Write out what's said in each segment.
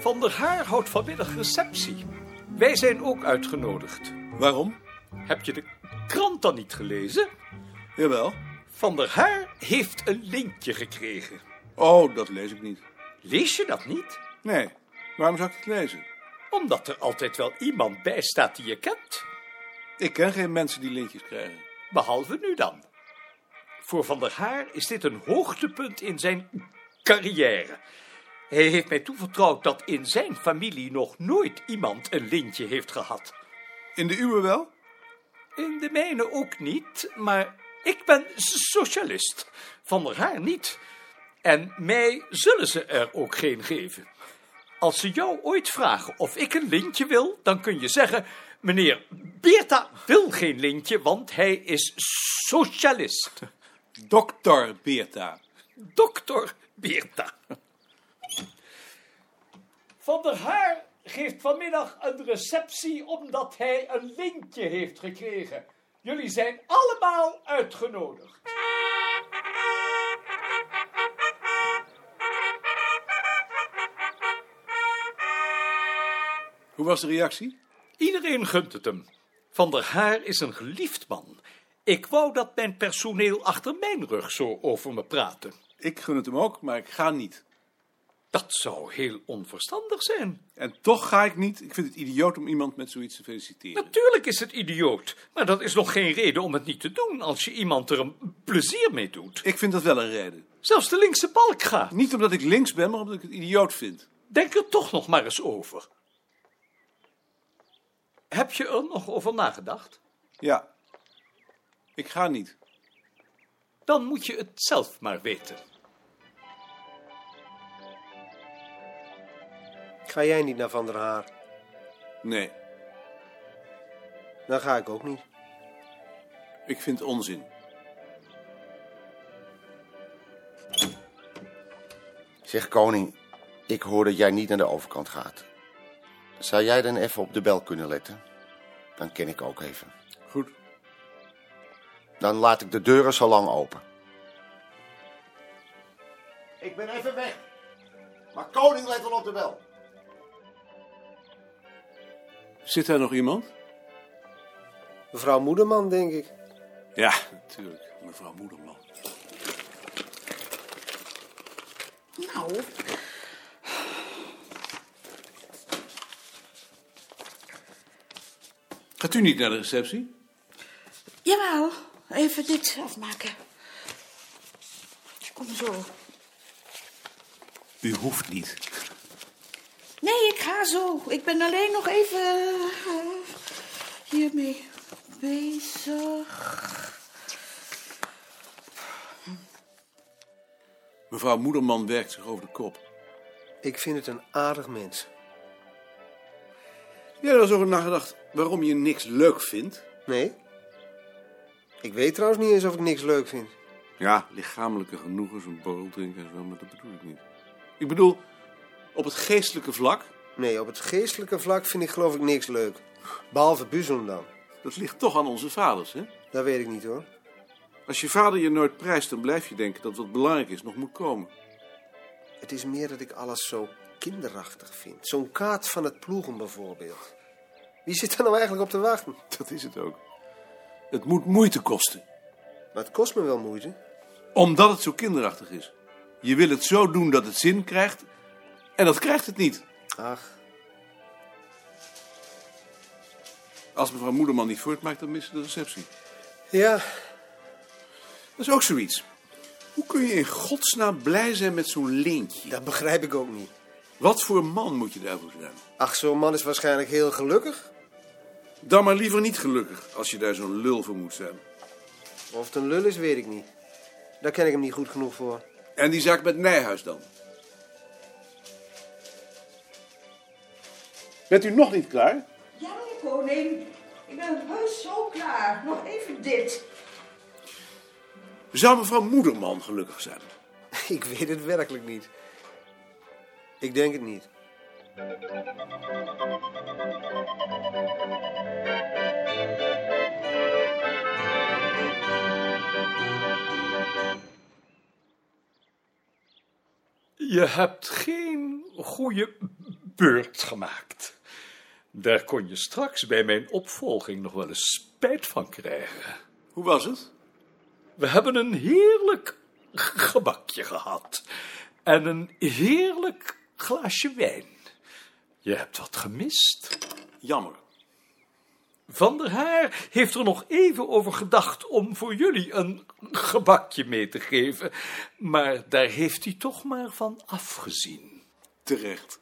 zonder haar houdt vanmiddag receptie. Wij zijn ook uitgenodigd. Waarom? Heb je de krant dan niet gelezen? Jawel. Van der Haar heeft een linkje gekregen. Oh, dat lees ik niet. Lees je dat niet? Nee, waarom zou ik het lezen? Omdat er altijd wel iemand bij staat die je kent. Ik ken geen mensen die lintjes krijgen. Behalve nu dan. Voor Van der Haar is dit een hoogtepunt in zijn carrière. Hij heeft mij toevertrouwd dat in zijn familie nog nooit iemand een lintje heeft gehad. In de uwe wel? In de mijne ook niet, maar ik ben socialist. Van der Haar niet. En mij zullen ze er ook geen geven. Als ze jou ooit vragen of ik een lintje wil, dan kun je zeggen: Meneer Beerta wil geen lintje, want hij is socialist. Dokter Beerta. Dokter Beerta. Van der Haar geeft vanmiddag een receptie omdat hij een lintje heeft gekregen. Jullie zijn allemaal uitgenodigd. Hoe was de reactie? Iedereen gunt het hem. Van der Haar is een geliefd man. Ik wou dat mijn personeel achter mijn rug zo over me praatte. Ik gun het hem ook, maar ik ga niet. Dat zou heel onverstandig zijn. En toch ga ik niet. Ik vind het idioot om iemand met zoiets te feliciteren. Natuurlijk is het idioot, maar dat is nog geen reden om het niet te doen als je iemand er een plezier mee doet. Ik vind dat wel een reden. Zelfs de linkse balk gaat. Niet omdat ik links ben, maar omdat ik het idioot vind. Denk er toch nog maar eens over. Heb je er nog over nagedacht? Ja. Ik ga niet. Dan moet je het zelf maar weten. Ga jij niet naar Van der Haar? Nee, Dan ga ik ook niet. ik vind onzin. Zeg koning, ik hoor dat jij niet naar de overkant gaat. Zou jij dan even op de bel kunnen letten? Dan ken ik ook even. Goed. Dan laat ik de deuren zo lang open. Ik ben even weg. Maar koning let wel op de bel. Zit daar nog iemand? Mevrouw Moederman, denk ik. Ja, natuurlijk. Mevrouw Moederman. Nou. Gaat u niet naar de receptie? Jawel, even dit afmaken. Kom zo. U hoeft niet. Nee, ik ga zo. Ik ben alleen nog even eh, hiermee bezig. Mevrouw Moederman werkt zich over de kop. Ik vind het een aardig mens. Jij er was over nagedacht waarom je niks leuk vindt? Nee? Ik weet trouwens niet eens of ik niks leuk vind. Ja, lichamelijke genoegens, een borrel drinken en zo, maar dat bedoel ik niet. Ik bedoel, op het geestelijke vlak, Nee, op het geestelijke vlak vind ik geloof ik niks leuk. Behalve Buzum dan. dat ligt toch aan onze vaders, hè? Dat weet ik niet hoor. Als je vader je nooit prijst, dan blijf je denken dat wat belangrijk is nog moet komen. Het is meer dat ik alles zo kinderachtig vind. Zo'n kaart van het ploegen bijvoorbeeld. Wie zit daar nou eigenlijk op te wachten? Dat is het ook. Het moet moeite kosten, Maar het kost me wel moeite. omdat het zo kinderachtig is. Je wil het zo doen dat het zin krijgt, en dat krijgt het niet. Ach, Als mevrouw Moederman niet voortmaakt, dan missen de receptie. ja, Dat is ook zoiets. Hoe kun je in godsnaam blij zijn met zo'n lintje? dat begrijp ik ook niet. Wat voor man moet je daarvoor zijn? Ach, zo'n man is waarschijnlijk heel gelukkig. Dan maar liever niet gelukkig als je daar zo'n lul voor moet zijn. Of het een lul is, weet ik niet. Daar ken ik hem niet goed genoeg voor. En die zaak met Nijhuis dan? Bent u nog niet klaar? Ja, koning. Ik ben heus zo klaar. Nog even dit. Zou mevrouw Moederman gelukkig zijn? Ik weet het werkelijk niet. Ik denk het niet. Je hebt geen goede beurt gemaakt. Daar kon je straks bij mijn opvolging nog wel eens spijt van krijgen. Hoe was het? We hebben een heerlijk g- gebakje gehad. En een heerlijk glaasje wijn. Je hebt wat gemist. Jammer. Van der Haar heeft er nog even over gedacht om voor jullie een gebakje mee te geven. Maar daar heeft hij toch maar van afgezien. Terecht.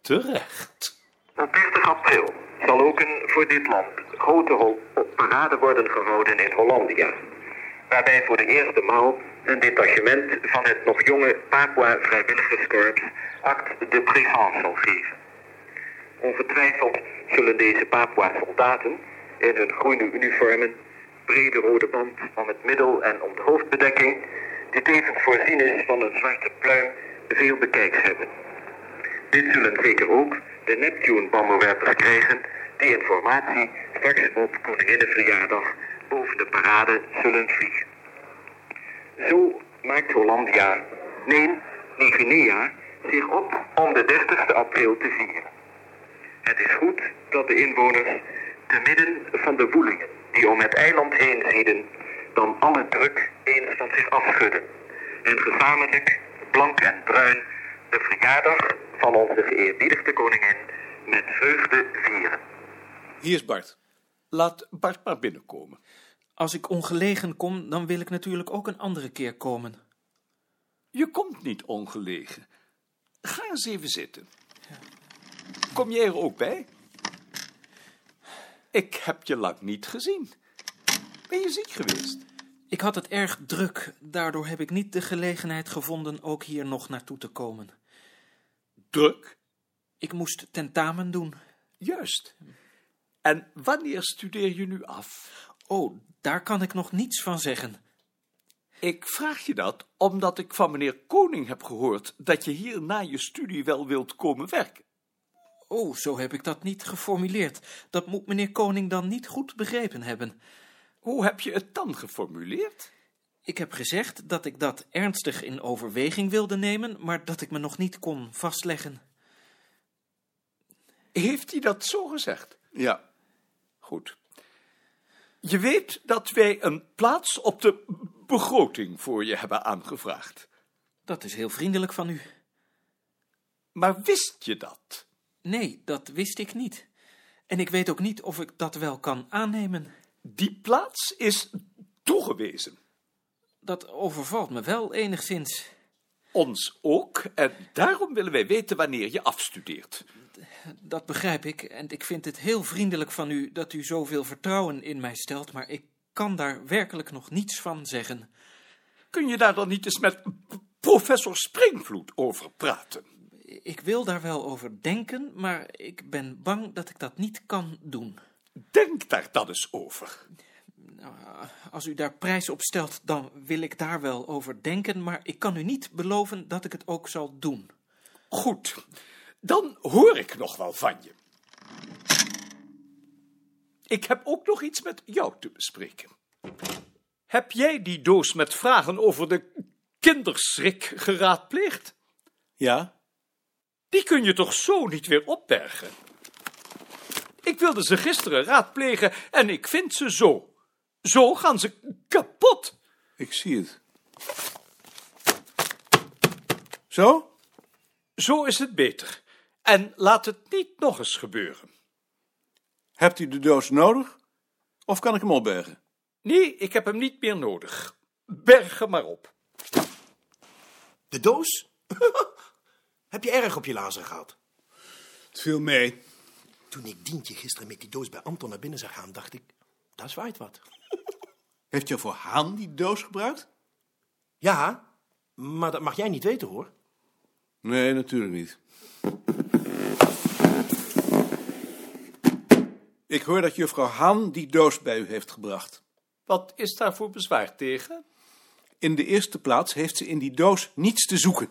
Terecht. Op 30 april zal ook een voor dit land grote ho- parade worden gehouden in Hollandia. Waarbij voor de eerste maal een detachement van het nog jonge Papua Vrijwilligerskorps Act de Présence zal geven. Ongetwijfeld zullen deze Papua soldaten in hun groene uniformen, brede rode band om het middel en om de hoofdbedekking, die tevens voorzien is van een zwarte pluim, veel bekijks hebben. Dit zullen zeker ook de Neptune-bommenwerpers krijgen die informatie straks op Koninginnenverjaardag boven de parade zullen vliegen. Zo maakt Hollandia, nee, Guinea, zich op om de 30 april te vieren. Het is goed dat de inwoners, te midden van de woelingen die om het eiland heen zieden, dan alle druk eens van zich afschudden. En gezamenlijk, blank en bruin, de verjaardag van onze geëerbiedigde koningin met vreugde vieren. Hier is Bart. Laat Bart maar binnenkomen. Als ik ongelegen kom, dan wil ik natuurlijk ook een andere keer komen. Je komt niet ongelegen. Ga eens even zitten. Kom jij er ook bij? Ik heb je lang niet gezien. Ben je ziek geweest? Ik had het erg druk, daardoor heb ik niet de gelegenheid gevonden ook hier nog naartoe te komen. Druk? Ik moest tentamen doen. Juist. En wanneer studeer je nu af? Oh, daar kan ik nog niets van zeggen. Ik vraag je dat omdat ik van meneer Koning heb gehoord dat je hier na je studie wel wilt komen werken. Oh, zo heb ik dat niet geformuleerd. Dat moet meneer Koning dan niet goed begrepen hebben. Hoe heb je het dan geformuleerd? Ik heb gezegd dat ik dat ernstig in overweging wilde nemen, maar dat ik me nog niet kon vastleggen. Heeft hij dat zo gezegd? Ja. Goed. Je weet dat wij een plaats op de begroting voor je hebben aangevraagd. Dat is heel vriendelijk van u. Maar wist je dat? Nee, dat wist ik niet. En ik weet ook niet of ik dat wel kan aannemen. Die plaats is toegewezen. Dat overvalt me wel enigszins. Ons ook, en daarom willen wij weten wanneer je afstudeert. Dat begrijp ik. En ik vind het heel vriendelijk van u dat u zoveel vertrouwen in mij stelt, maar ik kan daar werkelijk nog niets van zeggen. Kun je daar dan niet eens met professor Springvloed over praten? Ik wil daar wel over denken, maar ik ben bang dat ik dat niet kan doen. Denk daar dan eens over. Als u daar prijs op stelt, dan wil ik daar wel over denken, maar ik kan u niet beloven dat ik het ook zal doen. Goed, dan hoor ik nog wel van je. Ik heb ook nog iets met jou te bespreken. Heb jij die doos met vragen over de kinderschrik geraadpleegd? Ja? Die kun je toch zo niet weer opbergen? Ik wilde ze gisteren raadplegen en ik vind ze zo. Zo gaan ze kapot. Ik zie het. Zo? Zo is het beter. En laat het niet nog eens gebeuren. Hebt u de doos nodig? Of kan ik hem opbergen? Nee, ik heb hem niet meer nodig. Berg hem maar op. De doos? Heb je erg op je lazen gehad? Het viel mee. Toen ik Dientje gisteren met die doos bij Anton naar binnen zag gaan, dacht ik, daar zwaait wat. Heeft jouw voor Haan die doos gebruikt? Ja, maar dat mag jij niet weten hoor. Nee, natuurlijk niet. Ik hoor dat juffrouw Haan die doos bij u heeft gebracht. Wat is daarvoor bezwaar tegen? In de eerste plaats heeft ze in die doos niets te zoeken.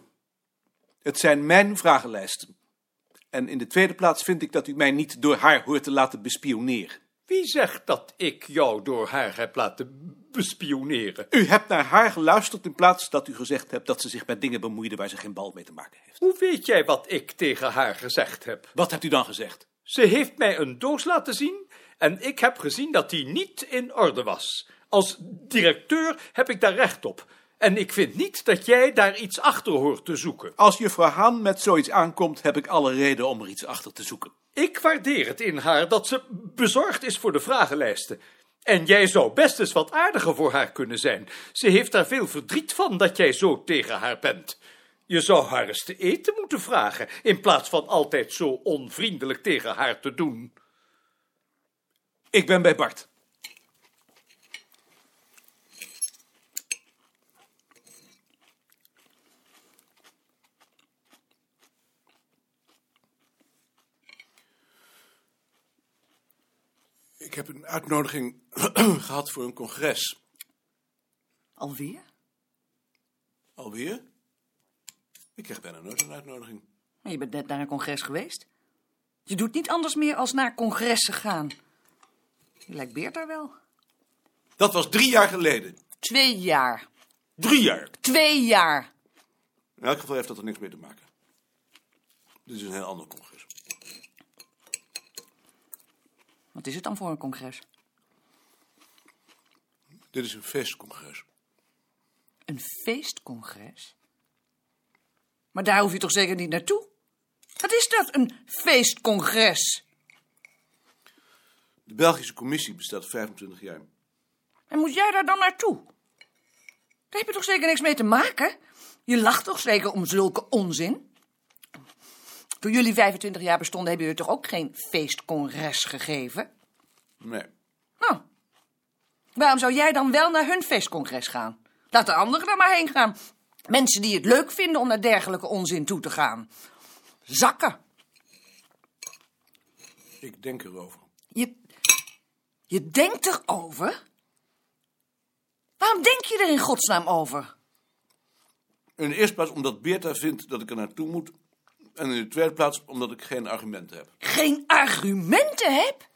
Het zijn mijn vragenlijsten. En in de tweede plaats vind ik dat u mij niet door haar hoort te laten bespioneren. Wie zegt dat ik jou door haar heb laten bespioneren. U hebt naar haar geluisterd in plaats dat u gezegd hebt dat ze zich met dingen bemoeide waar ze geen bal mee te maken heeft. Hoe weet jij wat ik tegen haar gezegd heb? Wat hebt u dan gezegd? Ze heeft mij een doos laten zien en ik heb gezien dat die niet in orde was. Als directeur heb ik daar recht op. En ik vind niet dat jij daar iets achter hoort te zoeken. Als juffrouw Haan met zoiets aankomt, heb ik alle reden om er iets achter te zoeken. Ik waardeer het in haar dat ze bezorgd is voor de vragenlijsten. En jij zou best eens wat aardiger voor haar kunnen zijn. Ze heeft daar veel verdriet van dat jij zo tegen haar bent. Je zou haar eens te eten moeten vragen, in plaats van altijd zo onvriendelijk tegen haar te doen. Ik ben bij Bart. Ik heb een uitnodiging gehad voor een congres. Alweer? Alweer? Ik krijg bijna nooit een uitnodiging. Maar je bent net naar een congres geweest. Je doet niet anders meer als naar congressen gaan. Je lijkt Beert daar wel. Dat was drie jaar geleden. Twee jaar. Drie jaar! Twee jaar. In elk geval heeft dat er niks mee te maken. Dit is een heel ander congres. Wat is het dan voor een congres? Dit is een feestcongres. Een feestcongres? Maar daar hoef je toch zeker niet naartoe? Wat is dat, een feestcongres? De Belgische commissie bestaat 25 jaar. En moet jij daar dan naartoe? Daar heb je toch zeker niks mee te maken? Je lacht toch zeker om zulke onzin? Toen jullie 25 jaar bestonden, hebben jullie toch ook geen feestcongres gegeven? Nee. Nou, waarom zou jij dan wel naar hun feestcongres gaan? Laat de anderen er maar heen gaan. Mensen die het leuk vinden om naar dergelijke onzin toe te gaan. Zakken. Ik denk erover. Je, je denkt erover? Waarom denk je er in godsnaam over? In de eerste plaats omdat Beerta vindt dat ik er naartoe moet. En in de tweede plaats omdat ik geen argumenten heb. Geen argumenten heb?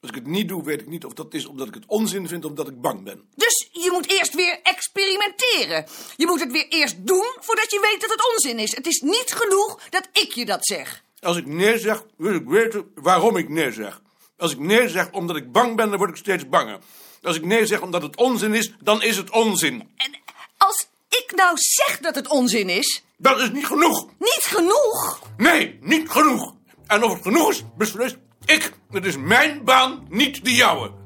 Als ik het niet doe, weet ik niet of dat is omdat ik het onzin vind of omdat ik bang ben. Dus je moet eerst weer experimenteren. Je moet het weer eerst doen voordat je weet dat het onzin is. Het is niet genoeg dat ik je dat zeg. Als ik nee zeg, wil ik weten waarom ik nee zeg. Als ik nee zeg omdat ik bang ben, dan word ik steeds banger. Als ik nee zeg omdat het onzin is, dan is het onzin. En als ik nou zeg dat het onzin is, Dat is niet genoeg. niet genoeg. Nee, niet genoeg. En of het genoeg is, beslist ik. Het is mijn baan, niet de jouwe.